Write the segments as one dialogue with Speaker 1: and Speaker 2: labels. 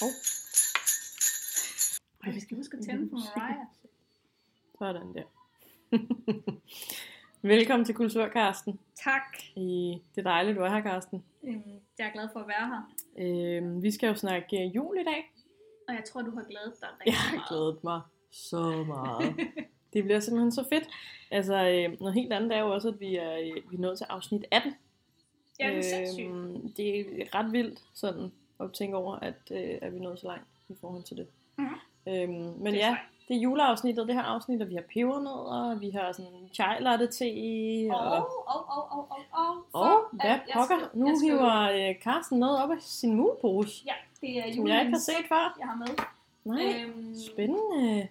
Speaker 1: Hov.
Speaker 2: Ej, vi skal huske at tænde for Mariah.
Speaker 1: Sådan der. Velkommen til Kulturkarsten.
Speaker 2: Tak.
Speaker 1: Øh, Det er dejligt, du er her, Karsten.
Speaker 2: Øhm, Jeg er glad for at være her.
Speaker 1: Øh, vi skal jo snakke øh, jul i dag.
Speaker 2: Og jeg tror, du har glædet dig rigtig
Speaker 1: Jeg har
Speaker 2: meget.
Speaker 1: glædet mig så meget. Det bliver simpelthen så fedt. Altså, øh, noget helt andet er jo også, at vi er, øh, vi er nået til afsnit 18.
Speaker 2: Ja, det er sindssygt.
Speaker 1: Øhm, det er ret vildt sådan at tænke over, at, øh, at vi nåede så langt i forhold til det.
Speaker 2: Mhm.
Speaker 1: Øhm, men
Speaker 2: Det er
Speaker 1: ja,
Speaker 2: sejt.
Speaker 1: det er juleafsnittet, det her afsnit, og vi har pebernødder, vi har sådan chai latte te,
Speaker 2: Og,
Speaker 1: og,
Speaker 2: og, og, og, og, og,
Speaker 1: og hvad
Speaker 2: at øh, jeg
Speaker 1: pokker,
Speaker 2: skal-
Speaker 1: nu
Speaker 2: jeg skal-
Speaker 1: hiver øh, Carsten noget op af sin mulepose,
Speaker 2: Ja, det er
Speaker 1: som jeg ikke har
Speaker 2: julens
Speaker 1: set før.
Speaker 2: jeg har med.
Speaker 1: Nej,
Speaker 2: Øhm,
Speaker 1: spændende.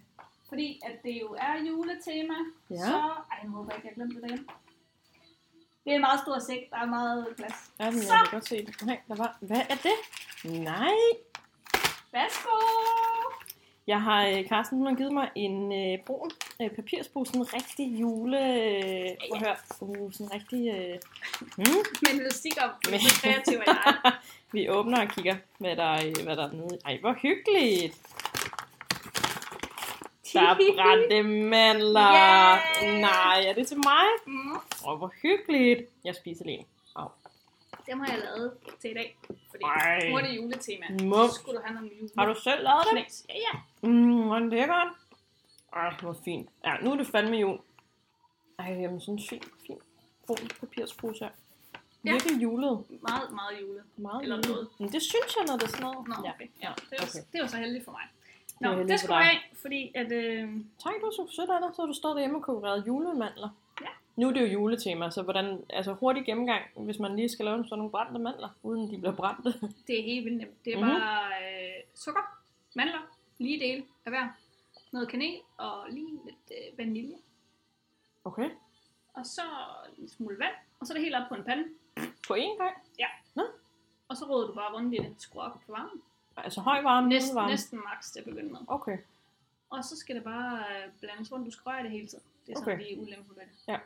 Speaker 2: Fordi at det jo er juletema,
Speaker 1: Ja.
Speaker 2: så... Ej, jeg håber ikke, jeg glemte det derhjemme. Det er en meget stor sæk, der er meget plads.
Speaker 1: Ja, men
Speaker 2: Så,
Speaker 1: jeg kan godt se det. Nej, der var, hvad er det? Nej,
Speaker 2: værsgo!
Speaker 1: Jeg har, øh, Carsten, hun har givet mig en øh, brun øh, papirspose, sådan en rigtig jule... Øh, prøv at høre. Uh, sådan en rigtig... Øh, hmm.
Speaker 2: Men elastik op, det er så kreativ af dig.
Speaker 1: Vi åbner og kigger, hvad der, øh, hvad der er nede. i. Ej, hvor hyggeligt. Der er brændte mandler.
Speaker 2: Yay!
Speaker 1: Nej, er det til mig?
Speaker 2: Mm,
Speaker 1: Åh, oh, hvor hyggeligt. Jeg spiser lige.
Speaker 2: dem har jeg lavet til i dag. Fordi
Speaker 1: Ej.
Speaker 2: nu er det juletema.
Speaker 1: Mums.
Speaker 2: Så skulle du have noget med jule.
Speaker 1: Har du selv lavet det?
Speaker 2: knæs? Ja, ja.
Speaker 1: Mm, hvor lækkert. Ej, hvor fint. Ja, nu er det fandme jul. Ej, jamen sådan en fin, fin brun papirspose her.
Speaker 2: Ja.
Speaker 1: Virkelig julet.
Speaker 2: Meget, meget jule.
Speaker 1: Meget
Speaker 2: Eller
Speaker 1: julet.
Speaker 2: noget.
Speaker 1: Men det synes jeg, når det er sådan noget.
Speaker 2: Nå,
Speaker 1: ja.
Speaker 2: okay. Ja, det, var,
Speaker 1: okay.
Speaker 2: det var så heldigt for mig.
Speaker 1: var
Speaker 2: Nå,
Speaker 1: heldigt
Speaker 2: det,
Speaker 1: for
Speaker 2: det skulle
Speaker 1: dig.
Speaker 2: jeg af, fordi at... Øh,
Speaker 1: Tak, du er så sødt af dig. Så har du stået derhjemme og konkurreret julemandler.
Speaker 2: Ja.
Speaker 1: Nu er det jo juletema, så hvordan, altså hurtig gennemgang, hvis man lige skal lave sådan nogle brændte mandler, uden de bliver brændte.
Speaker 2: Det er helt vildt nemt. Det er
Speaker 1: Mhm.
Speaker 2: mm-hmm. bare øh, sukker, mandler, lige dele af hver. Noget kanel og lige lidt øh, vanilje.
Speaker 1: Okay.
Speaker 2: Og så en smule vand. Og så er det helt op på en pande.
Speaker 1: På én gang.
Speaker 2: Og så råder du bare rundt i det. Skru op for varmen.
Speaker 1: Altså høj varme,
Speaker 2: Næsten,
Speaker 1: middelvarme.
Speaker 2: næsten maks til at begynde med.
Speaker 1: Okay.
Speaker 2: Og så skal det bare øh, blandes rundt. Du skal røre det hele tiden. Det er sådan
Speaker 1: Okay.
Speaker 2: okay. lige ulempen ved det.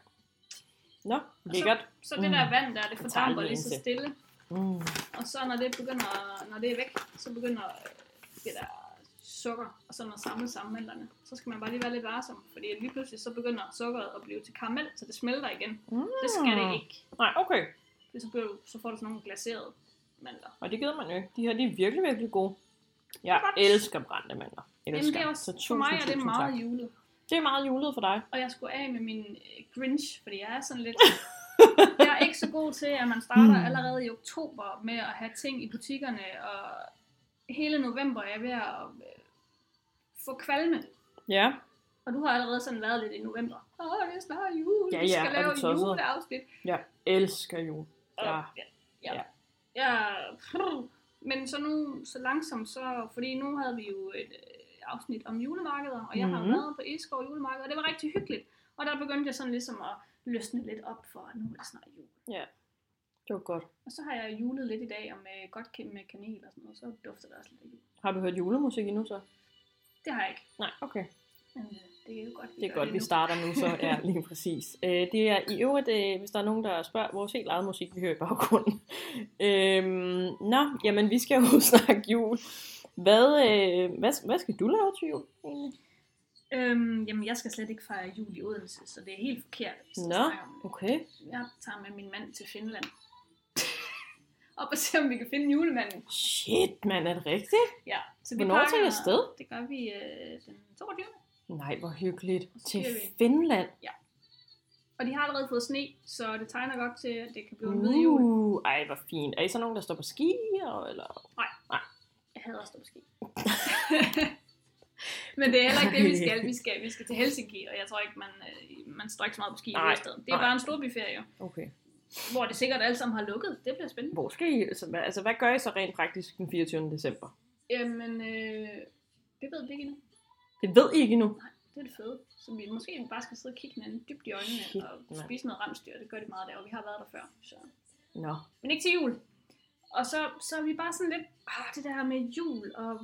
Speaker 1: Nå, lækkert.
Speaker 2: Så det
Speaker 1: Mm.
Speaker 2: der vand der, det
Speaker 1: Jeg tager
Speaker 2: fordamper
Speaker 1: lige
Speaker 2: lige
Speaker 1: en
Speaker 2: så
Speaker 1: til.
Speaker 2: stille.
Speaker 1: Mm.
Speaker 2: Og så når det begynder, når det er væk, så begynder øh, det der sukker og sådan at samle sammenmænderne. Så skal man bare lige være lidt varsom, fordi lige pludselig så begynder sukkeret at blive til karamel, så det smelter igen.
Speaker 1: Mm.
Speaker 2: Det skal det ikke.
Speaker 1: Nej, okay.
Speaker 2: Fordi så, bliver, du- så får du sådan nogle glaserede mandler.
Speaker 1: Og det gider man jo ikke. De her, de er virkelig, virkelig gode. Jeg
Speaker 2: Godt.
Speaker 1: elsker brændte mandler. Elsker.
Speaker 2: Jamen, det er også, for mig er det
Speaker 1: tusind
Speaker 2: meget
Speaker 1: tak.
Speaker 2: julet.
Speaker 1: Det er meget julet for dig.
Speaker 2: Og jeg skulle af med min øh, grinch, fordi jeg er sådan lidt... Jeg er ikke så god til, at man starter
Speaker 1: Mm.
Speaker 2: allerede i oktober med at have ting i butikkerne, og hele november er jeg ved at øh, få kvalme.
Speaker 1: Ja.
Speaker 2: Og du har allerede sådan været lidt i november. Åh, det er snart jul.
Speaker 1: Ja,
Speaker 2: vi
Speaker 1: ja,
Speaker 2: skal
Speaker 1: er
Speaker 2: lave
Speaker 1: du tosset?
Speaker 2: juleafsnit.
Speaker 1: Jeg elsker jul.
Speaker 2: Og-
Speaker 1: Ja.
Speaker 2: ja. ja.
Speaker 1: Ja.
Speaker 2: ja. prr. Men så nu, så langsomt, så, fordi nu havde vi jo et øh, afsnit om julemarkeder, og jeg har jo
Speaker 1: Mhm.
Speaker 2: været på Eskov julemarked, og det var rigtig hyggeligt. Og der begyndte jeg sådan ligesom at løsne lidt op for, at nu er det snart jul.
Speaker 1: Det var godt.
Speaker 2: Og så har jeg julet lidt i dag, og med godt kendt med kanel og sådan noget, så dufter det også lidt af jul.
Speaker 1: Har du hørt julemusik endnu så?
Speaker 2: Det har jeg ikke,
Speaker 1: Nej, okay.
Speaker 2: men øh, det er jo godt, vi
Speaker 1: Det er
Speaker 2: gør
Speaker 1: godt, vi
Speaker 2: nu.
Speaker 1: starter nu, så ja, lige præcis. Øh, det er i øvrigt, øh, hvis der er nogen, der spørger, vores helt eget musik, vi hører i baggrunden. Øhm, nå, jamen vi skal jo snakke jul. Hvad, øh, hvad, hvad skal du lave til jul egentlig?
Speaker 2: Øhm, jamen, jeg skal slet ikke fejre jul i Odense, så det er helt forkert. hvis jeg
Speaker 1: Nå.
Speaker 2: snakker om det.
Speaker 1: Okay.
Speaker 2: Jeg tager med min mand til Finland. Op og se, om vi kan finde julemanden.
Speaker 1: Shit, mand, er det rigtigt?
Speaker 2: Ja, så
Speaker 1: Hvornår tager I afsted?
Speaker 2: Det gør vi øh, den 22.
Speaker 1: Nej, hvor hyggeligt.
Speaker 2: Så
Speaker 1: Til
Speaker 2: bliver vi-
Speaker 1: Finland.
Speaker 2: Og de har allerede fået sne, så det tegner godt til, at det kan blive en hvid jul.
Speaker 1: Uh, ej, hvor fint. Er I så nogen, der står på ski? og- Eller?
Speaker 2: Jeg hader også måske. Men det er heller ikke det, vi skal. Vi skal, vi skal til Helsinki, og jeg tror ikke, man, øh, man står ikke så meget på ski i
Speaker 1: Nej,
Speaker 2: hovedstaden. Det er
Speaker 1: nej.
Speaker 2: bare en storbyferie,
Speaker 1: Okay.
Speaker 2: hvor det sikkert alle sammen har lukket. Det bliver spændende.
Speaker 1: Hvor skal I? Altså, hvad, altså, hvad gør I så rent praktisk den 24. december?
Speaker 2: Jamen, øh, det ved vi ikke endnu.
Speaker 1: Det ved I ikke endnu.
Speaker 2: Det er det fede. Så vi måske bare skal sidde og kigge hinanden dybt i øjnene
Speaker 1: Shit,
Speaker 2: Shit, og
Speaker 1: mand.
Speaker 2: spise noget ramstyr. Det gør det meget der, og vi har været der før. Så.
Speaker 1: Nå.
Speaker 2: Men ikke til jul. Og så, så er vi bare sådan lidt, ah, det der med jul og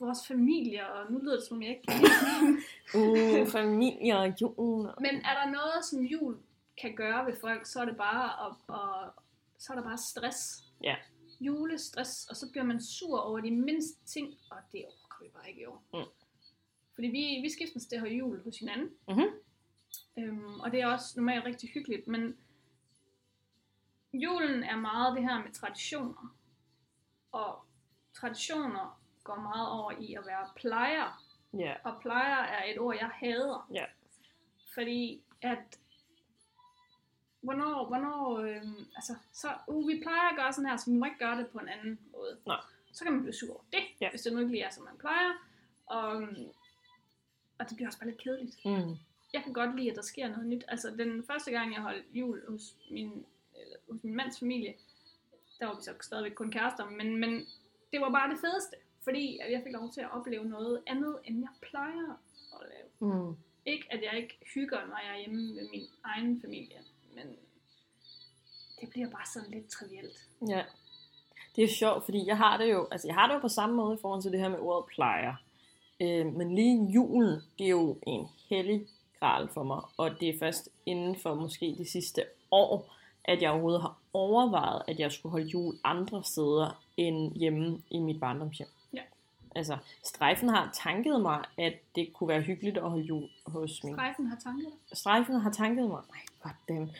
Speaker 2: vores familier, og nu lyder det som, jeg ikke kan lide dem."
Speaker 1: Uh, familie og jul.
Speaker 2: Men er der noget, som jul kan gøre ved folk, så er det bare, at, og, så er der bare stress.
Speaker 1: Ja.
Speaker 2: julestress, og så bliver man sur over de mindste ting, og det overgår vi bare ikke i år.
Speaker 1: Mm.
Speaker 2: Fordi vi, vi skiftes det her jul hos hinanden,
Speaker 1: Mhm.
Speaker 2: øhm, og det er også normalt rigtig hyggeligt, men julen er meget det her med traditioner, og traditioner går meget over i at være plejer,
Speaker 1: Ja,
Speaker 2: og plejer er et ord, jeg hader.
Speaker 1: Ja.
Speaker 2: Fordi at, hvornår, hvornår, øhm, altså, så, uh, vi plejer at gøre sådan her, så vi må ikke gøre det på en anden måde.
Speaker 1: Nej.
Speaker 2: Så kan man blive sur over det,
Speaker 1: Ja.
Speaker 2: hvis det nu ikke lige er, som man plejer. Og, øhm, og det bliver også bare lidt kedeligt.
Speaker 1: mm.
Speaker 2: Jeg kan godt lide, at der sker noget nyt. Altså, den første gang, jeg holdt jul hos min, eller, hos min mands familie, der var vi så stadigvæk kun kærester, men, men det var bare det fedeste. Fordi at jeg fik lov til at opleve noget andet, end jeg plejer at lave.
Speaker 1: Mm.
Speaker 2: Ikke at jeg ikke hygger, når jeg er hjemme med min egen familie, men det bliver bare sådan lidt trivielt.
Speaker 1: Ja. Det er sjovt, fordi jeg har det jo, altså jeg har det jo på samme måde i forhold til det her med ordet plejer. Øh, men lige julen, det er jo en hellig gral for mig, og det er først inden for måske de sidste år, at jeg overhovedet har overvejet, at jeg skulle holde jul andre steder end hjemme i mit barndomshjem.
Speaker 2: Ja.
Speaker 1: Altså, strejfen har tanket mig, at det kunne være hyggeligt at holde jul hos min
Speaker 2: Strejfen har tanker.
Speaker 1: Strejfen har tanket mig. Nej, hvordan?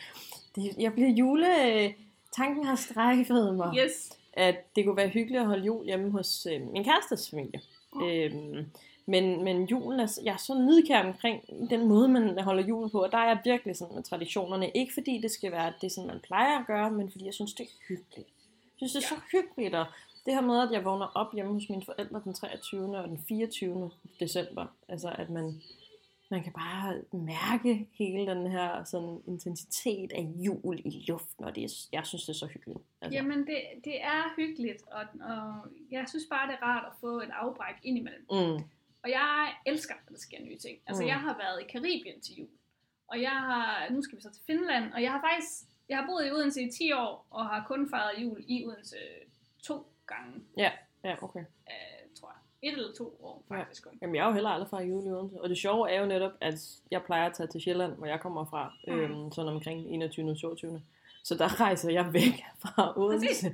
Speaker 1: Det, jeg bliver jule... øh, Tanken har strejfet mig.
Speaker 2: Yes.
Speaker 1: At det kunne være hyggeligt at holde jul hjemme hos øh, min kærestes familie.
Speaker 2: Mm.
Speaker 1: Øhm, men, men julen er... s- Jeg er så nidkær omkring den måde, man holder julen på. Og der er jeg virkelig sådan med traditionerne. Ikke fordi det skal være det, som man plejer at gøre, men fordi jeg synes, det er hyggeligt. Jeg synes, det er så hyggeligt. Og det her med, at jeg vågner op hjemme hos mine forældre den 23. og den 24. december. Altså, at man man kan bare mærke hele den her sådan, intensitet af jul i luften, og det er, jeg synes, det er så hyggeligt. Altså,
Speaker 2: Jamen, det, det er hyggeligt, og, og jeg synes bare, det er rart at få et afbræk indimellem.
Speaker 1: mm,
Speaker 2: Og jeg elsker, at der sker nye ting. Altså,
Speaker 1: Mm.
Speaker 2: jeg har været i Karibien til jul, og jeg har, nu skal vi så til Finland, og jeg har faktisk, jeg har boet i Odense i 10 år, og har kun fejret jul i Odense to gange,
Speaker 1: ja, okay.
Speaker 2: øh, tror jeg. Et eller to år,
Speaker 1: Ja.
Speaker 2: faktisk kun.
Speaker 1: Jamen, jeg er jo heller aldrig fra jul i Odense. Og det sjove er jo netop, at jeg plejer at tage til Sjælland, hvor jeg kommer fra,
Speaker 2: Mm.
Speaker 1: øhm, sådan omkring 21. og 22. Så der rejser jeg væk fra Odense.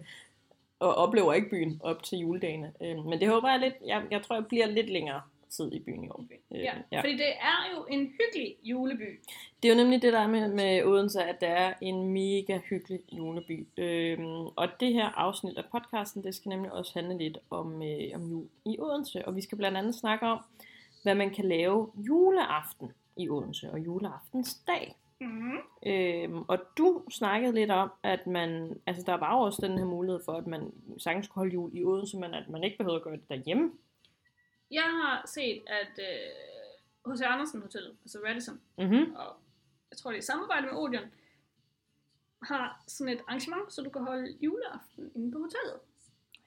Speaker 1: Og oplever ikke byen op til juledagene. Øhm, men det håber jeg lidt. Jeg, jeg tror, jeg bliver lidt længere tid i byen i år.
Speaker 2: Okay.
Speaker 1: Øh,
Speaker 2: Ja,
Speaker 1: ja.
Speaker 2: ja, fordi det er jo en hyggelig juleby.
Speaker 1: Det er jo nemlig det der er med, med Odense, at det er en mega hyggelig juleby. Øhm, og det her afsnit af podcasten, det skal nemlig også handle lidt om, øh, om jul i Odense. Og vi skal blandt andet snakke om, hvad man kan lave juleaften i Odense og juleaftensdag.
Speaker 2: Mm.
Speaker 1: Øhm, og du snakkede lidt om, at man, altså der var jo også den her mulighed for, at man sagtens kunne holde jul i Odense, men at man ikke behøvede at gøre det derhjemme.
Speaker 2: Jeg har set, at øh, H.C. Andersen Hotel, altså Radisson,
Speaker 1: Mm-hmm.
Speaker 2: og jeg tror det er i samarbejde med Odeon, har sådan et arrangement, så du kan holde juleaften inde på hotellet.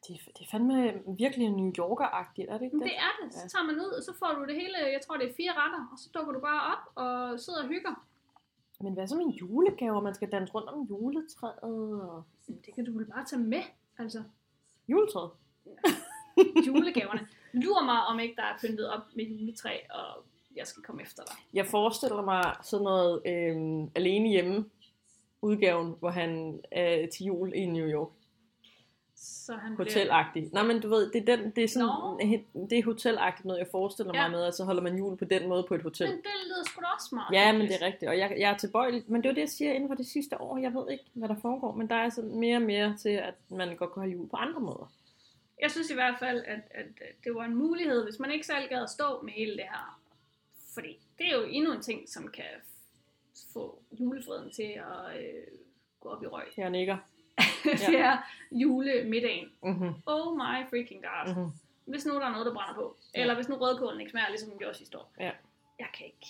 Speaker 1: Det, er- det er fandme virkelig New Yorker-agtigt, er det ikke
Speaker 2: Men
Speaker 1: det?
Speaker 2: det er det.
Speaker 1: Ja.
Speaker 2: Så tager man ud, og så får du det hele, jeg tror det er fire retter, og så dukker du bare op og sidder og hygger.
Speaker 1: Men hvad så med julegaver? Man skal danse rundt om juletræet og
Speaker 2: Jamen, Det kan du vel bare tage med, altså
Speaker 1: juletræet.
Speaker 2: julegaverne. Lur mig, om ikke der er pyntet op med juletræ, og jeg skal komme efter dig.
Speaker 1: Jeg forestiller mig sådan noget øh, alene hjemme udgaven, hvor han er til jul i New York.
Speaker 2: Så han bliver-
Speaker 1: Hotelagtigt. Nej, men du ved, det er, den, det er
Speaker 2: Nå.
Speaker 1: sådan, he- det er hotelagtigt noget, jeg forestiller mig
Speaker 2: Ja.
Speaker 1: med, at så holder man jul på den måde på et hotel.
Speaker 2: Men det lyder sgu da også smart.
Speaker 1: Ja, men det er rigtigt, og jeg, jeg er tilbøjelig, men det er jo det, jeg siger inden for det sidste år, jeg ved ikke, hvad der foregår, men der er altså mere og mere til, at man godt kan holde jul på andre måder.
Speaker 2: Jeg synes i hvert fald, at, at øh, det var en mulighed, hvis man ikke selv gad at stå med hele det her. Fordi det er jo endnu en ting, som kan f- få julefreden til at øh, gå op i røg.
Speaker 1: Jeg nikker.
Speaker 2: det er julemiddagen.
Speaker 1: Mm-hmm.
Speaker 2: Oh my freaking god.
Speaker 1: Mm-hmm.
Speaker 2: Hvis nu der er noget, der brænder på.
Speaker 1: Ja.
Speaker 2: Eller hvis nu rødkålen ikke smager, ligesom den gjorde sidste år.
Speaker 1: Ja.
Speaker 2: Jeg kan ikke.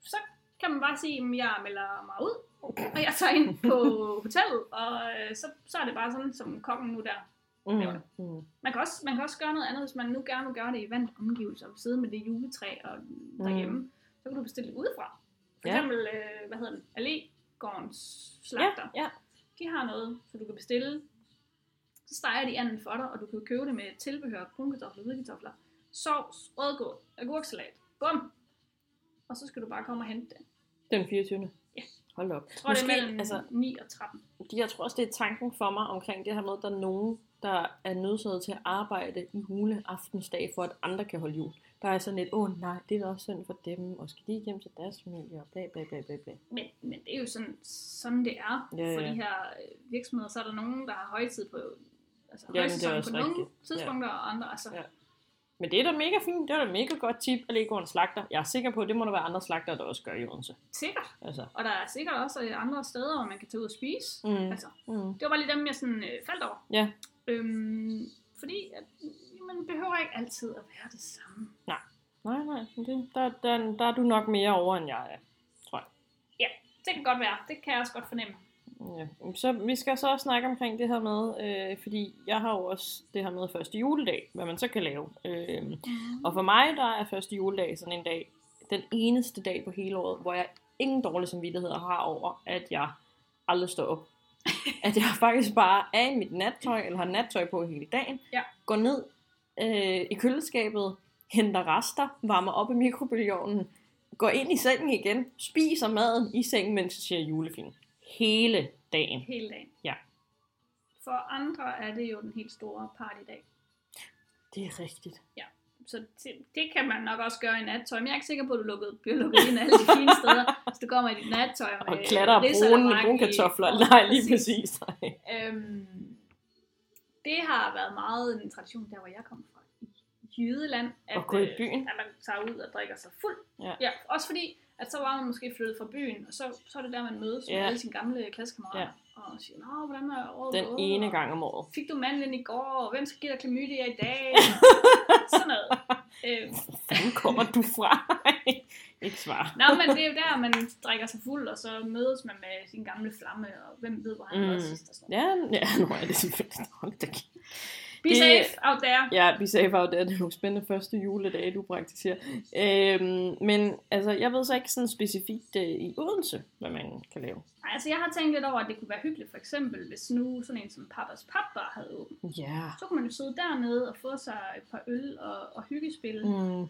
Speaker 2: Så kan man bare sige, at jeg melder mig ud. Og jeg tager ind på hotellet. Og øh, så, så er det bare sådan, som kongen nu der.
Speaker 1: Mm-hmm. Mm-hmm.
Speaker 2: Man kan, også, man kan også gøre noget andet, hvis man nu gerne vil gøre det i vand omgivelser, og sidde med det juletræ og derhjemme. Så kan du bestille det udefra.
Speaker 1: Mm.
Speaker 2: For
Speaker 1: Ja.
Speaker 2: eksempel, øh, hvad hedder den, Allégårdens slagter.
Speaker 1: Ja, ja.
Speaker 2: De har noget, så du kan bestille. Så steger de anden for dig, og du kan købe det med tilbehør, brunkartofler, hvidkartofler, sovs, rødgål, agurksalat. Bum! Og så skal du bare komme og hente det.
Speaker 1: Den 24.
Speaker 2: Ja.
Speaker 1: Hold da op.
Speaker 2: Jeg tror, Måske, det er mellem altså... 9 og 13.
Speaker 1: de- jeg tror også, det er tanken for mig omkring det her med, at der er nogen, der er nødsaget til at arbejde i juleaftensdag, for at andre kan holde jul. Der er sådan et, åh oh, nej, det er da også synd for dem, og skal de ikke hjem til deres familie, og bla bla bla bla bla.
Speaker 2: Men, men det er jo sådan, sådan det er
Speaker 1: Ja,
Speaker 2: for
Speaker 1: ja.
Speaker 2: de her øh, virksomheder. Så er der nogen, der har højtid på, altså
Speaker 1: men det er
Speaker 2: højsæson på
Speaker 1: også
Speaker 2: nogle
Speaker 1: rigtigt. Ja.
Speaker 2: tidspunkter, og andre. Altså,
Speaker 1: Ja. Men det er da mega fint, det er da mega godt tip at lægge over en slagter. Jeg er sikker på, at det må der være andre slagter, der også gør i Odense.
Speaker 2: sikkert.
Speaker 1: Altså.
Speaker 2: Og der er sikkert også øh, andre steder, hvor man kan tage ud og spise.
Speaker 1: Mm.
Speaker 2: Altså,
Speaker 1: Mm.
Speaker 2: det var bare lige dem, jeg sådan, øh, faldt over.
Speaker 1: Ja.
Speaker 2: Øhm, fordi at, øh, man behøver ikke altid at være det samme.
Speaker 1: Nej, nej, men det, der, der, der er du nok mere over, end jeg er.
Speaker 2: Det kan godt være. Det kan jeg også godt fornemme.
Speaker 1: Ja. Så vi skal så også snakke omkring det her med, øh, fordi jeg har jo også det her med første juledag, hvad man så kan lave. Øh, og for mig, der er første juledag sådan en dag, den eneste dag på hele året, hvor jeg ingen dårlig samvittighed har over, at jeg aldrig står op. At jeg faktisk bare er i mit nattøj, eller har nattøj på hele dagen,
Speaker 2: Ja.
Speaker 1: går ned øh, i køleskabet, henter rester, varmer op i mikrobølgeovnen, går ind i sengen igen, spiser maden i sengen, mens jeg ser julefilm. Hele dagen.
Speaker 2: Hele dagen.
Speaker 1: Ja.
Speaker 2: For andre er det jo den helt store partydag.
Speaker 1: Det er rigtigt.
Speaker 2: Så det, det kan man nok også gøre i nattøj. Men jeg er ikke sikker på, at du lukket, bliver lukket ind alle de fine steder, hvis du kommer i dit nattøj.
Speaker 1: Og
Speaker 2: med
Speaker 1: klatter og
Speaker 2: ridser
Speaker 1: brune,
Speaker 2: vrak
Speaker 1: brune
Speaker 2: i-
Speaker 1: kartofler. Nej, lige præcis. Nej.
Speaker 2: Øhm, det har været meget en tradition, der hvor jeg kommer fra. I Jydeland.
Speaker 1: At gå i
Speaker 2: øh,
Speaker 1: byen.
Speaker 2: At man tager ud og drikker sig fuld.
Speaker 1: Ja.
Speaker 2: ja. Også fordi, at så var man måske flyttet fra byen, og så, så er det der, man mødes med
Speaker 1: Ja.
Speaker 2: alle sine gamle klassekammerater. Og siger, nå, hvordan er året
Speaker 1: Den
Speaker 2: gået?"
Speaker 1: ene
Speaker 2: Og,
Speaker 1: gang om året.
Speaker 2: Fik du mandlen i går? Og hvem skal give dig klamydia i dag? Og sådan noget. Øh,
Speaker 1: Hvor fanden kommer du fra? ikke svar.
Speaker 2: Nå, men det er jo der, man drikker sig fuld, og så mødes man med sin gamle flamme, og hvem ved, hvor han
Speaker 1: Mm.
Speaker 2: mm. var sidst og sådan noget.
Speaker 1: Ja, ja, nu er det selvfølgelig. Hold da kæft.
Speaker 2: Be
Speaker 1: Det-
Speaker 2: safe out there.
Speaker 1: Ja, vi sagde bare, det er nogle spændende første juledage, du praktiserer. Øhm, men altså, jeg ved så ikke sådan specifikt øh, i Odense, hvad man kan lave.
Speaker 2: Nej, altså jeg har tænkt lidt over, at det kunne være hyggeligt, for eksempel, hvis nu sådan en som Pappas Papbar havde åbent.
Speaker 1: Ja.
Speaker 2: Så kunne man jo sidde dernede og få sig et par øl og, og hyggespil, mm.
Speaker 1: Mm,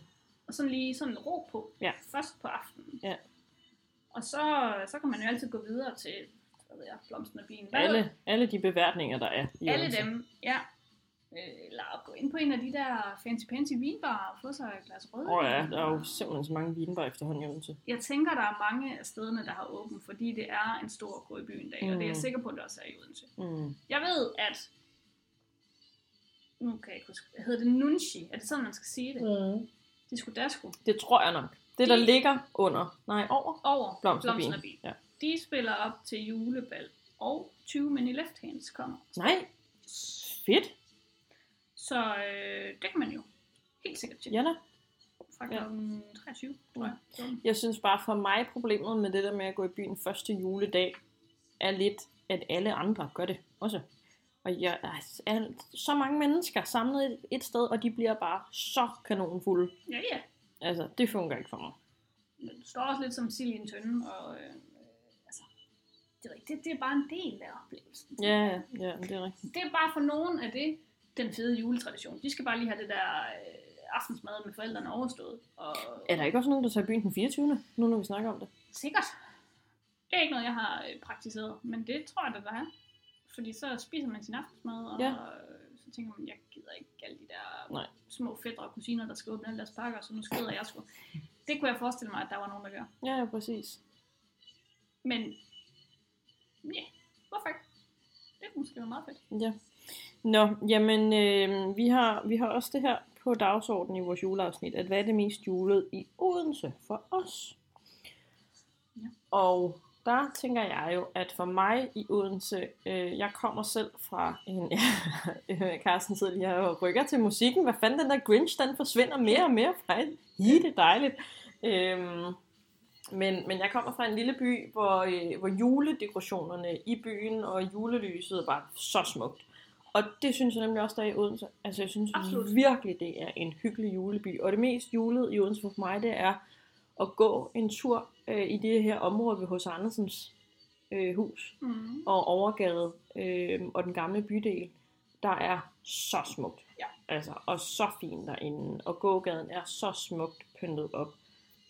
Speaker 2: og sådan lige sådan ro på,
Speaker 1: Ja.
Speaker 2: først på aftenen.
Speaker 1: Ja.
Speaker 2: Og så, så kan man jo altid gå videre til, hvad ved jeg, blomsten og bien. Hvad-
Speaker 1: alle, alle de beværtninger, der er i
Speaker 2: alle
Speaker 1: Odense.
Speaker 2: dem, ja. Øh, Eller at gå ind på en af de der fancy-pansy vinbarer og få sig et glas rødvin.
Speaker 1: Åh oh, ja, der er jo simpelthen så mange vinbarer efterhånden i Odense.
Speaker 2: Jeg tænker, der er mange af stederne, der har åbent, fordi det er en stor gå i byen dag, mm. og det er jeg
Speaker 1: Mm.
Speaker 2: sikker på, at det også er i Odense.
Speaker 1: Mm.
Speaker 2: Jeg ved, at... Nu kan jeg ikke huske. Hedder det Nunchi? Er det sådan, man skal sige det?
Speaker 1: Mm.
Speaker 2: De skulle da skulle
Speaker 1: Det tror jeg nok. Det, der
Speaker 2: De-
Speaker 1: ligger under, nej, over
Speaker 2: over
Speaker 1: blomsten og
Speaker 2: Blomsten og
Speaker 1: bin.
Speaker 2: Bin.
Speaker 1: Ja.
Speaker 2: De spiller op til julebal, og 20 Men i Left Hands kommer.
Speaker 1: Nej, fedt.
Speaker 2: Så øh, det kan man jo helt sikkert tjekke
Speaker 1: Ja da.
Speaker 2: fra
Speaker 1: ja.
Speaker 2: kl. 23, tror
Speaker 1: Ja.
Speaker 2: jeg. Mm.
Speaker 1: Jeg synes bare for mig, problemet med det der med at gå i byen første juledag, er lidt, at alle andre gør det også. Og jeg der er så mange mennesker samlet et, et sted, og de bliver bare så kanonfulde.
Speaker 2: Ja, ja.
Speaker 1: Altså, det fungerer ikke for mig.
Speaker 2: Men du står også lidt som sild i en tønde, og øh, øh, altså, det, er rigtigt, det er bare en del af oplevelsen.
Speaker 1: Ja, ja, ja, men det er rigtigt.
Speaker 2: Det er bare for nogen af det, den fede juletradition. De skal bare lige have det der øh, aftensmad med forældrene overstået. Og
Speaker 1: Er der ikke også nogen, der tager i byen den 24. nu når vi snakker om det?
Speaker 2: sikkert. Det er ikke noget, jeg har øh, praktiseret, men det tror jeg, da, der er. Fordi så spiser man sin aftensmad, og
Speaker 1: Ja.
Speaker 2: ja. så tænker man, jeg gider ikke alle de der
Speaker 1: Nej.
Speaker 2: små fædre og kusiner, der skal åbne alle deres pakker, så nu skrider jeg sgu. Det kunne jeg forestille mig, at der var nogen, der gør.
Speaker 1: Ja, ja, præcis.
Speaker 2: Men ja, hvorfor ikke? Det kunne måske være meget fedt.
Speaker 1: Ja. Nå, jamen, øh, vi, har, vi har også det her på dagsordenen i vores juleafsnit, at hvad er det mest julede i Odense for os?
Speaker 2: Ja.
Speaker 1: Og der tænker jeg jo, at for mig i Odense, øh, jeg kommer selv fra en... øh, Carsten sidder lige her og rykker til musikken. Hvad fanden, den der Grinch, den forsvinder mere og mere fra en. Hi, det er dejligt. Øhm, men, men jeg kommer fra en lille by, hvor, øh, hvor juledekorationerne i byen og julelyset var så smukt. Og det synes jeg nemlig også, der er i Odense. Altså jeg synes
Speaker 2: Absolut.
Speaker 1: Absolut. virkelig, det er en hyggelig juleby. Og det mest julede i Odense for mig, det er at gå en tur øh, i det her område ved hos Andersens øh, hus
Speaker 2: Mm.
Speaker 1: og overgade øh, og den gamle bydel, der er så smukt.
Speaker 2: Ja.
Speaker 1: Altså, og så fint derinde. Og gågaden er så smukt pyntet op.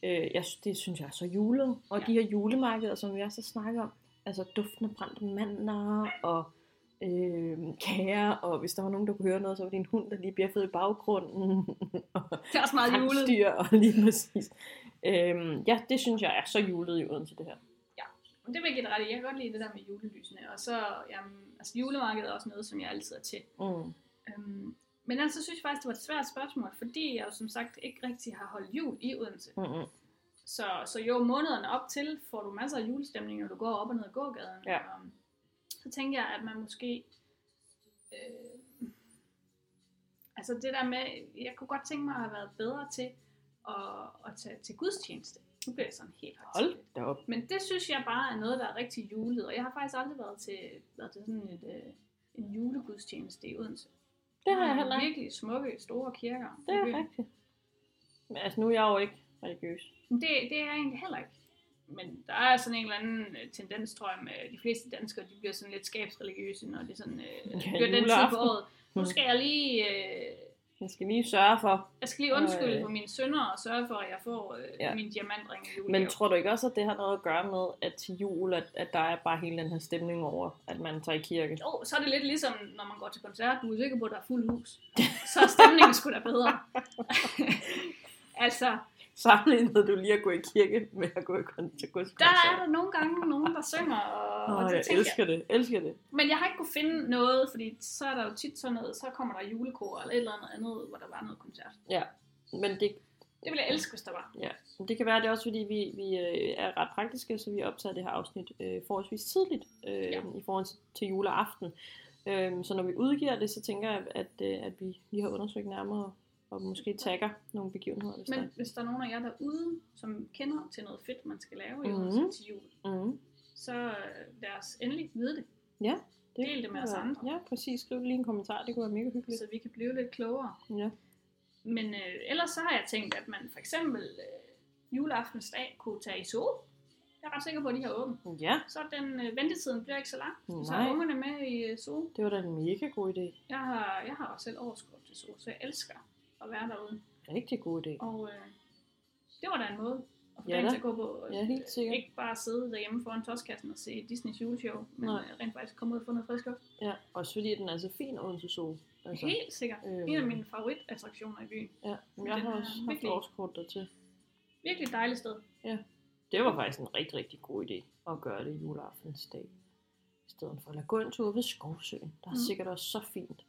Speaker 1: Øh, jeg, sy- det synes jeg er så julet. Og
Speaker 2: Ja.
Speaker 1: ja. de her julemarkeder, som vi også har snakket om, altså duften af brændte mandler og øh, kager, og hvis der var nogen, der kunne høre noget, så var det en hund, der lige bjeffede i baggrunden.
Speaker 2: Det er også meget julet.
Speaker 1: Rensdyr, og lige præcis. Øhm, ja, det synes jeg er så julet i Odense, det her.
Speaker 2: Men det vil jeg give dig ret i. Jeg kan godt lide det der med julelysene. Og så, jamen, altså julemarkedet er også noget, som jeg altid er til.
Speaker 1: Mm.
Speaker 2: Øhm, men altså, så synes jeg faktisk, det var et svært spørgsmål, fordi jeg jo som sagt ikke rigtig har holdt jul i Odense.
Speaker 1: Mm-mm.
Speaker 2: Så, så jo, månederne op til får du masser af julestemning, når du går op og ned ad gågaden.
Speaker 1: Ja.
Speaker 2: Og, så tænker jeg, at man måske... Øh, altså det der med, jeg kunne godt tænke mig at have været bedre til at, at tage til gudstjeneste. Nu bliver det sådan helt højtidligt.
Speaker 1: Hold da op.
Speaker 2: Men det synes jeg bare er noget, der er rigtig julet. Og jeg har faktisk aldrig været til, været til sådan et, øh, en julegudstjeneste i Odense.
Speaker 1: Det har
Speaker 2: Der er
Speaker 1: jeg heller ikke.
Speaker 2: Virkelig smukke, store kirker.
Speaker 1: Det
Speaker 2: Okay.
Speaker 1: er rigtigt. Men altså, nu er jeg jo ikke religiøs.
Speaker 2: Men Det, det er jeg egentlig heller ikke. Men der er sådan en eller anden øh, tendens, tror jeg, med de fleste danskere, de bliver sådan lidt skabsreligiøse, når det sådan, øh,
Speaker 1: Ja,
Speaker 2: bliver den tid på
Speaker 1: juleaften. Mm.
Speaker 2: året. Nu skal jeg lige, øh,
Speaker 1: Jeg skal lige sørge for.
Speaker 2: jeg skal lige undskylde
Speaker 1: Øh.
Speaker 2: for mine sønner og sørge for, at jeg får øh,
Speaker 1: Ja.
Speaker 2: ja. min diamantring i julegave.
Speaker 1: Men tror du ikke også, at det har noget at gøre med, at til jul, at, at der er bare hele den her stemning over, at man tager i kirke?
Speaker 2: Jo, så er det lidt ligesom, når man går til koncert, du er sikker på, at der er fuld hus. Så er stemningen sgu da bedre. altså,
Speaker 1: Sammenlignede du lige at gå i kirke med at gå i kon- til
Speaker 2: der
Speaker 1: gudskoncert?
Speaker 2: er der nogle gange nogen, der synger, og,
Speaker 1: Altså. Åh,
Speaker 2: og
Speaker 1: jeg
Speaker 2: det tænker jeg.
Speaker 1: elsker det, elsker det.
Speaker 2: Men jeg har ikke kunne finde noget, fordi så er der jo tit sådan noget, så kommer der julekor eller et eller andet andet, hvor der var noget koncert.
Speaker 1: Men det,
Speaker 2: Det ville jeg elske, hvis der var.
Speaker 1: det kan være, det er også fordi, vi, vi øh, er ret praktiske, så vi optager det her afsnit øh, forholdsvis tidligt øh,
Speaker 2: Ja.
Speaker 1: ja. i forhold til- til juleaften. Øh, så når vi udgiver det, så tænker jeg, at, øh, at vi lige har undersøgt nærmere og måske tagger nogle begivenheder. Hvis
Speaker 2: Men hvis der er nogen af jer derude, som kender til noget fedt, man skal lave i
Speaker 1: Mhm.
Speaker 2: mm-hmm. til jul,
Speaker 1: der er. Mm,
Speaker 2: så øh, lad os endelig vide det, Del det med os
Speaker 1: kunne være-
Speaker 2: andre.
Speaker 1: Ja, præcis. Skriv lige en kommentar, det kunne være mega hyggeligt.
Speaker 2: så vi kan blive lidt klogere.
Speaker 1: Ja.
Speaker 2: Men øh, ellers så har jeg tænkt, at man for eksempel øh, juleaftensdag kunne tage i zoo. Jeg er ret sikker på, at de har åbent.
Speaker 1: ja,
Speaker 2: Så er den øh, ventetiden bliver ikke så lang. Så
Speaker 1: Nej.
Speaker 2: er ungerne med i øh, zoo.
Speaker 1: det var da en mega god idé.
Speaker 2: Jeg har, jeg har også selv overskud til zoo, så jeg elsker at være derude.
Speaker 1: Rigtig god idé.
Speaker 2: Og øh, det var da en måde at få
Speaker 1: Ja
Speaker 2: dagen
Speaker 1: da.
Speaker 2: til at gå på.
Speaker 1: Ja, helt sikkert.
Speaker 2: Ikke bare sidde derhjemme foran toskassen og se Disneys juleshow, men
Speaker 1: Nej.
Speaker 2: øh, rent faktisk komme ud og få noget frisk luft.
Speaker 1: Ja, også fordi den er så fin Odense Zoo. Altså,
Speaker 2: Helt sikkert.
Speaker 1: øh,
Speaker 2: En af mine favoritattraktioner i byen.
Speaker 1: Ja, men jeg
Speaker 2: Den
Speaker 1: har
Speaker 2: er
Speaker 1: også haft
Speaker 2: virkelig-
Speaker 1: årskort dertil.
Speaker 2: Virkelig dejligt sted.
Speaker 1: Det var faktisk en rigtig, rigtig god idé at gøre det juleaftensdag. I stedet for at lade gå en tur ved Skovsøen. Der er
Speaker 2: Mm.
Speaker 1: mm. sikkert også så fint.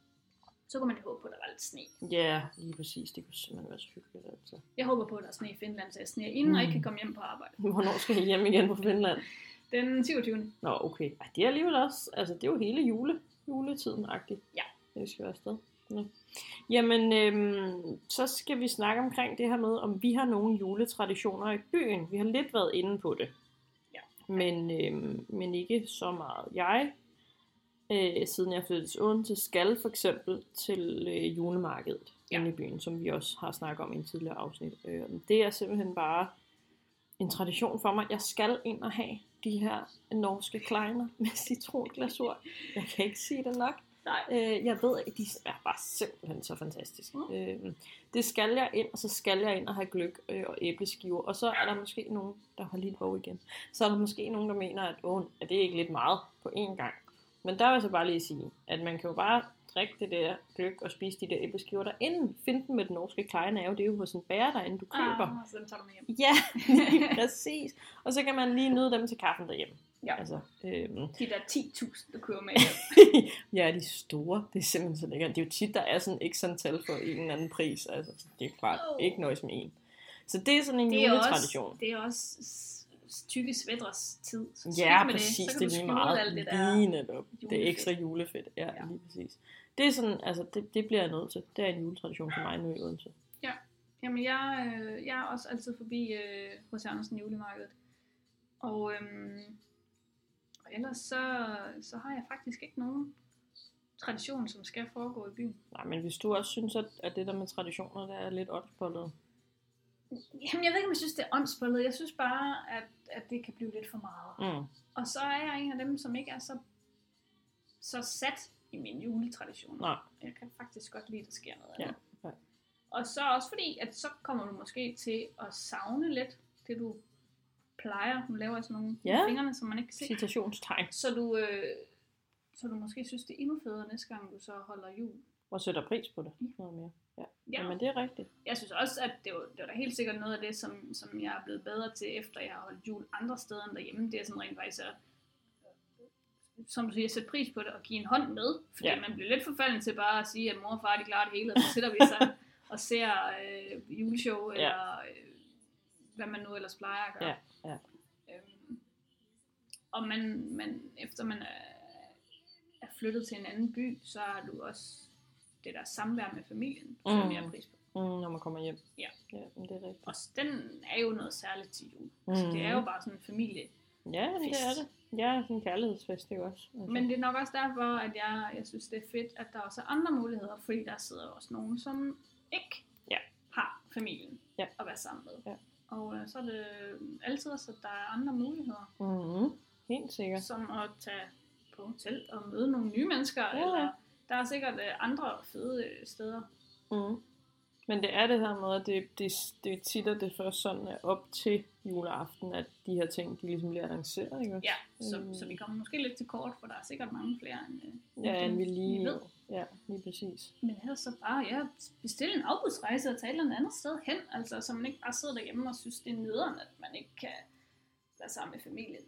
Speaker 2: Så kunne man håbe på, at der var lidt sne.
Speaker 1: Ja, yeah, lige præcis. Det kunne simpelthen være så hyggeligt. Altså.
Speaker 2: Jeg håber på, at der er sne i Finland, så jeg sneer inden mm.
Speaker 1: Mm.
Speaker 2: og ikke kan komme hjem på arbejde.
Speaker 1: Hvornår skal jeg hjem igen på Finland?
Speaker 2: Den 27.
Speaker 1: Nå, okay. Ej, det er alligevel også, altså det er jo hele jule, juletiden-agtigt.
Speaker 2: Ja.
Speaker 1: Det skal være afsted. Nå. Jamen, øhm, så skal vi snakke omkring det her med, om vi har nogle juletraditioner i byen. Vi har lidt været inde på det.
Speaker 2: Ja.
Speaker 1: Men, øhm, men ikke så meget. Jeg, øh, siden jeg flyttede til Odense, skal for eksempel til øh, julemarkedet
Speaker 2: Ja.
Speaker 1: ja. inde i byen, som vi også har snakket om i en tidligere afsnit. Øh, det er simpelthen bare en tradition for mig. Jeg skal ind og have de her norske kleiner med citronglasur. Jeg kan ikke sige det nok.
Speaker 2: Nej.
Speaker 1: Øh, jeg ved ikke, de er bare simpelthen så fantastiske.
Speaker 2: Mm.
Speaker 1: Mm. Øh, det skal jeg ind, og så skal jeg ind og have gløk øh, og æbleskiver. Og så er der måske nogen, der har lige på igen. Så er der måske nogen, der mener, at åh, er det ikke lidt meget på én gang. Men der vil jeg så bare lige sige, at man kan jo bare drikke det der gløk og spise de der æbleskiver derinde. Find dem med den norske kleine er jo, det er jo hos en bærer derinde, du køber.
Speaker 2: Ah, så den tager du med hjem.
Speaker 1: Ja, lige præcis. Og så kan man lige nyde dem til kaffen derhjemme.
Speaker 2: Ja.
Speaker 1: Altså, øhm,
Speaker 2: De der 10.000, du køber med
Speaker 1: ja, de er store. Det er simpelthen så lækkert. Det er jo tit, der er sådan ikke sådan tal for en eller anden pris. Altså, så det er klart
Speaker 2: Åh.
Speaker 1: ikke nøjes med en. Så det er sådan en
Speaker 2: det er
Speaker 1: juletradition.
Speaker 2: også, det er også s- s- tykke svætres tid. Så skidt
Speaker 1: Ja,
Speaker 2: med
Speaker 1: præcis.
Speaker 2: Så
Speaker 1: Det,
Speaker 2: kan
Speaker 1: det
Speaker 2: du
Speaker 1: er lige
Speaker 2: skjule
Speaker 1: meget
Speaker 2: alt det der.
Speaker 1: lige netop. Det
Speaker 2: julefedt.
Speaker 1: er ekstra julefedt. Ja,
Speaker 2: Ja.
Speaker 1: ja, lige præcis. Det er sådan, altså, det, det bliver jeg nødt til. Det er en juletradition for mig nu i Odense.
Speaker 2: Jamen, jeg, øh, jeg er også altid forbi øh, hos Andersen julemarkedet. Og, øhm, og ellers så, så har jeg faktisk ikke nogen tradition, som skal foregå i byen.
Speaker 1: Nej, men hvis du også synes, at, at det der med traditioner, der er lidt åndsbollet.
Speaker 2: Jamen, jeg ved ikke, om jeg synes, det er åndsbollet. Jeg synes bare, at, at det kan blive lidt for meget.
Speaker 1: Mm.
Speaker 2: Og så er jeg en af dem, som ikke er så, så sat i min juletradition.
Speaker 1: Nej.
Speaker 2: Jeg kan faktisk godt lide, at der sker noget
Speaker 1: Ja,
Speaker 2: andet.
Speaker 1: ja.
Speaker 2: Og så også fordi, at så kommer du måske til at savne lidt det, du plejer. Nu laver jeg sådan nogle
Speaker 1: Ja.
Speaker 2: ja. fingrene, som man ikke kan se.
Speaker 1: Citationstegn.
Speaker 2: Så du, øh, Så du måske synes, det er endnu federe næste gang, du så holder jul.
Speaker 1: Og sætter pris på det.
Speaker 2: Ja.
Speaker 1: Noget mere.
Speaker 2: Ja,
Speaker 1: Jamen det er rigtigt.
Speaker 2: jeg synes også, at det var, det var da helt sikkert noget af det, som, som jeg er blevet bedre til, efter jeg har holdt jul andre steder end derhjemme. Det er sådan rent faktisk at, øh, som du siger, sætte pris på det og give en hånd med. Fordi
Speaker 1: Ja.
Speaker 2: ja. man bliver lidt forfalden til bare at sige, at mor og far de klarer det hele, og så sætter vi sig og ser øh, juleshow,
Speaker 1: Ja.
Speaker 2: eller øh, hvad man nu ellers plejer at gøre.
Speaker 1: Ja, ja.
Speaker 2: Øhm, og man, man, efter man er, er flyttet til en anden by, så har du også det der samvær med familien, som
Speaker 1: Mm.
Speaker 2: jeg har pris på
Speaker 1: Mm, når man kommer hjem.
Speaker 2: Ja.
Speaker 1: ja men det er rigtigt.
Speaker 2: også den er jo noget særligt til jul. Mm. Altså, det er
Speaker 1: Mhm.
Speaker 2: jo bare sådan en familie.
Speaker 1: Ja, men det er
Speaker 2: fest.
Speaker 1: det. Ja, sådan en kærlighedsfest, det er jo også. Altså.
Speaker 2: Men det er nok også derfor, at jeg, jeg synes, det er fedt, at der også er andre muligheder, fordi der sidder jo også nogen, som ikke
Speaker 1: Ja.
Speaker 2: har familien
Speaker 1: Ja.
Speaker 2: at være sammen med.
Speaker 1: Ja.
Speaker 2: Og øh, så er det altid også, at der er andre muligheder,
Speaker 1: Mm-hmm. Helt sikkert.
Speaker 2: som at tage på hotel og møde nogle nye mennesker,
Speaker 1: Ja.
Speaker 2: ja. eller der er sikkert øh, andre fede øh, steder.
Speaker 1: Mm. Men det er det her med, at det, det, det tit er det først sådan at op til juleaften, at de her ting, de ligesom bliver lanceret, ikke også?
Speaker 2: Ja, så,
Speaker 1: Mm.
Speaker 2: mm. så vi kommer måske lidt til kort, for der er sikkert mange flere end, øh,
Speaker 1: Ja,
Speaker 2: dem,
Speaker 1: end vi lige...
Speaker 2: ved.
Speaker 1: Ja, lige præcis.
Speaker 2: Men ellers så bare, ja, bestille en afbudsrejse og tage et eller andet andet sted hen, altså så man ikke bare sidder derhjemme og synes, det er nederen, at man ikke kan være sammen med familien.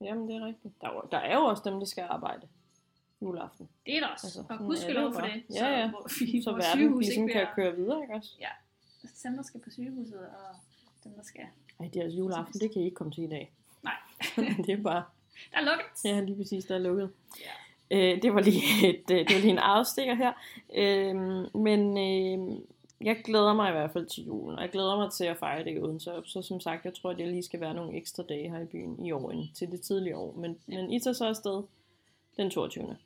Speaker 1: Jamen, det er rigtigt. Der, er jo- der er jo også dem, der skal arbejde juleaften.
Speaker 2: Det er der også,
Speaker 1: Altså,
Speaker 2: altså, og
Speaker 1: sådan
Speaker 2: husk
Speaker 1: er det jo
Speaker 2: lov for
Speaker 1: bare.
Speaker 2: det,
Speaker 1: Ja,
Speaker 2: så,
Speaker 1: ja.
Speaker 2: Hvor, vi,
Speaker 1: Så
Speaker 2: så vores
Speaker 1: verden
Speaker 2: sygehus ikke
Speaker 1: ligesom kan
Speaker 2: bliver...
Speaker 1: køre videre, ikke også?
Speaker 2: Sandra skal på sygehuset, og dem der skal...
Speaker 1: Ej, det er altså juleaften, det kan I ikke komme til i dag.
Speaker 2: Nej.
Speaker 1: det er bare...
Speaker 2: Der er lukket!
Speaker 1: Ja, lige præcis, der er lukket. Øh, det, var lige et, øh, det var lige en afstikker her. Øh, men øh, jeg glæder mig i hvert fald til julen, og jeg glæder mig til at fejre det i Odense. Så som sagt, jeg tror, at jeg lige skal være nogle ekstra dage her i byen i år end til det tidlige år. Men, men I tager så afsted den 22.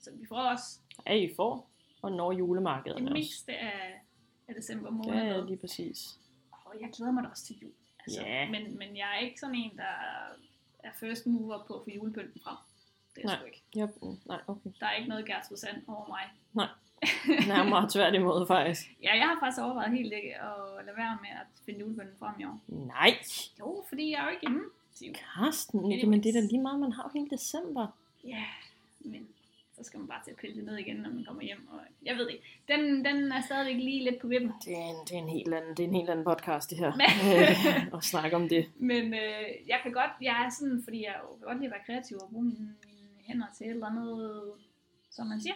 Speaker 2: Så vi får også
Speaker 1: Er I for? Og når
Speaker 2: det
Speaker 1: julemarkederne også.
Speaker 2: meste af, af december måned.
Speaker 1: Ja,
Speaker 2: med.
Speaker 1: lige præcis.
Speaker 2: Og jeg glæder mig da også til jul. Altså,
Speaker 1: Ja.
Speaker 2: men, men jeg er ikke sådan en, der er first mover på at få julepynten frem. Det er jeg sgu ikke.
Speaker 1: Ja, mm, nej, okay.
Speaker 2: Der er ikke noget Gertrud Sand over mig.
Speaker 1: Nej. Nærmere tværtimod faktisk.
Speaker 2: Ja, jeg har faktisk overvejet helt ikke at lade være med at finde julepynten frem i år.
Speaker 1: Nej,
Speaker 2: Jo, fordi jeg er jo ikke hjemme til jul.
Speaker 1: Karsten. Men det er da lige meget, man har jo hele december.
Speaker 2: Ja, men så skal man bare til at pille det ned igen, når man kommer hjem. Og jeg ved det ikke. Den, den er stadigvæk lige lidt på vippen.
Speaker 1: Det er, en, det, er en helt anden, det er en helt anden podcast, det her.
Speaker 2: Men-
Speaker 1: øh, at snakke om det.
Speaker 2: Men øh, jeg kan godt, jeg er sådan, fordi jeg jo kan godt lide at være kreativ og bruge mine, mine hænder til et eller andet, som man siger.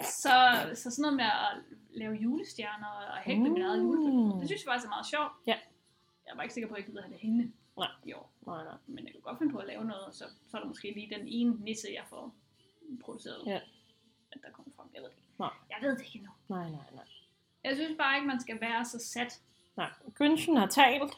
Speaker 2: Så, så sådan noget med at lave julestjerner og hægte mm. min eget julepynt. Det synes jeg faktisk er meget sjovt.
Speaker 1: Ja.
Speaker 2: Jeg er bare ikke sikker på, at jeg gider have det hængende
Speaker 1: Nej.
Speaker 2: i år.
Speaker 1: Nej, nej.
Speaker 2: Men jeg kan godt finde på at lave noget, og så, så er der måske lige den ene nisse, jeg får produceret,
Speaker 1: Ja.
Speaker 2: at der kommer frem. Jeg ved det ikke.
Speaker 1: Nej.
Speaker 2: Jeg ved det ikke endnu.
Speaker 1: Nej, nej, nej.
Speaker 2: Jeg synes bare ikke, man skal være så sat.
Speaker 1: Nej, Grinchen har talt.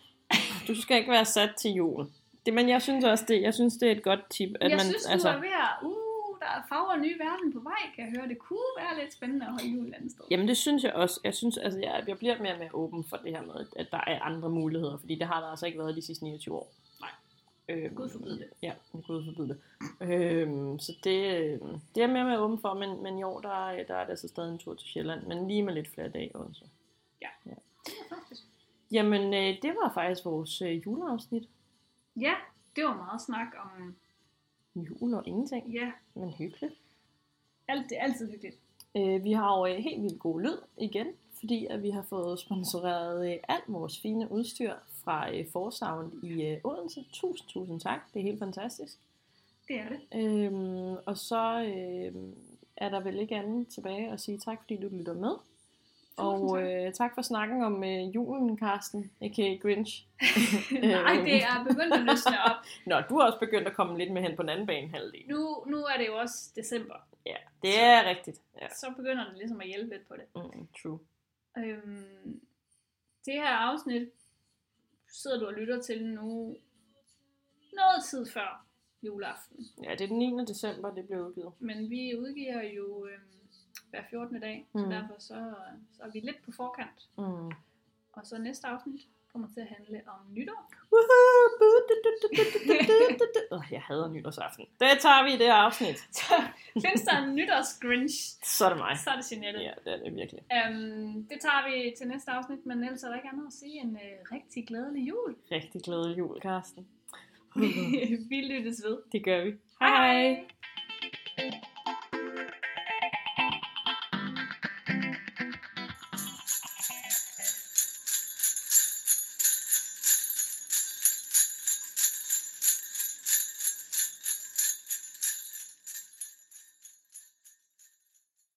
Speaker 1: Du skal ikke være sat til jul. Det, men jeg synes også, det, jeg synes, det er et godt tip. At
Speaker 2: jeg
Speaker 1: man,
Speaker 2: synes, du
Speaker 1: altså,
Speaker 2: altså... er ved at, uh, der er farver og nye verden på vej, kan jeg høre. Det kunne være lidt spændende at holde jul et andet sted.
Speaker 1: Jamen det synes jeg også. Jeg synes, altså, jeg, jeg bliver mere og mere åben for det her med, at der er andre muligheder. Fordi det har der altså ikke været de sidste 29 år.
Speaker 2: Nej.
Speaker 1: Øhm,
Speaker 2: Gud forbyde det.
Speaker 1: Ja, Gud forbyde det. Øhm, så det, øh, det er jeg mere og mere åben for, men, men i år, der, er- der er det altså stadig en tur til Sjælland. Men lige med lidt flere dage også.
Speaker 2: Det er faktisk-
Speaker 1: Jamen, øh, det var faktisk vores øh, juleafsnit.
Speaker 2: Ja, det var meget snak om
Speaker 1: Jul og ingenting,
Speaker 2: ja,
Speaker 1: men hyggeligt.
Speaker 2: alt, det er altid hyggeligt.
Speaker 1: Øh, vi har jo øh, helt vildt god lyd igen, fordi at vi har fået sponsoreret øh, alt vores fine udstyr fra øh, Forsound i øh, Odense. Tusind, tusind tak. Det er helt fantastisk.
Speaker 2: Det er det.
Speaker 1: Øhm, og så øh, er der vel ikke andet tilbage at sige tak, fordi du lytter med. Og
Speaker 2: Tusind tak.
Speaker 1: øh, tak for snakken om øh, julen, Karsten, a.k.a. Grinch. øh,
Speaker 2: Nej, det er begyndt at løsne op.
Speaker 1: Nå, du er også begyndt at komme lidt med hen på den anden bane halvdel.
Speaker 2: Nu, nu er det jo også december,
Speaker 1: Ja, det er rigtigt. Ja.
Speaker 2: så begynder det ligesom at hjælpe lidt på det.
Speaker 1: Mm, true.
Speaker 2: Øhm, det her afsnit sidder du og lytter til nu noget tid før juleaften.
Speaker 1: Ja, det er den 9. december, det blev udgivet.
Speaker 2: Men vi udgiver jo øhm, hver 14. dag, så
Speaker 1: Mm.
Speaker 2: derfor så, så er vi lidt på forkant.
Speaker 1: Mm.
Speaker 2: Og så næste afsnit kommer til at handle om nytår.
Speaker 1: Woohoo! Bu- du- du- du- du- du- du- du- du- Åh, Jeg hader nytårsaften. Det tager vi i det her afsnit.
Speaker 2: Så findes der en nytårsgrinch,
Speaker 1: Så er det mig.
Speaker 2: så er det Jeanette.
Speaker 1: Ja, det er det virkelig.
Speaker 2: Øhm, det tager vi til næste afsnit, men ellers er der ikke andet at sige end øh, rigtig glædelig jul.
Speaker 1: Rigtig glædelig jul, Karsten.
Speaker 2: vi lyttes ved.
Speaker 1: Det gør vi. Hej hej!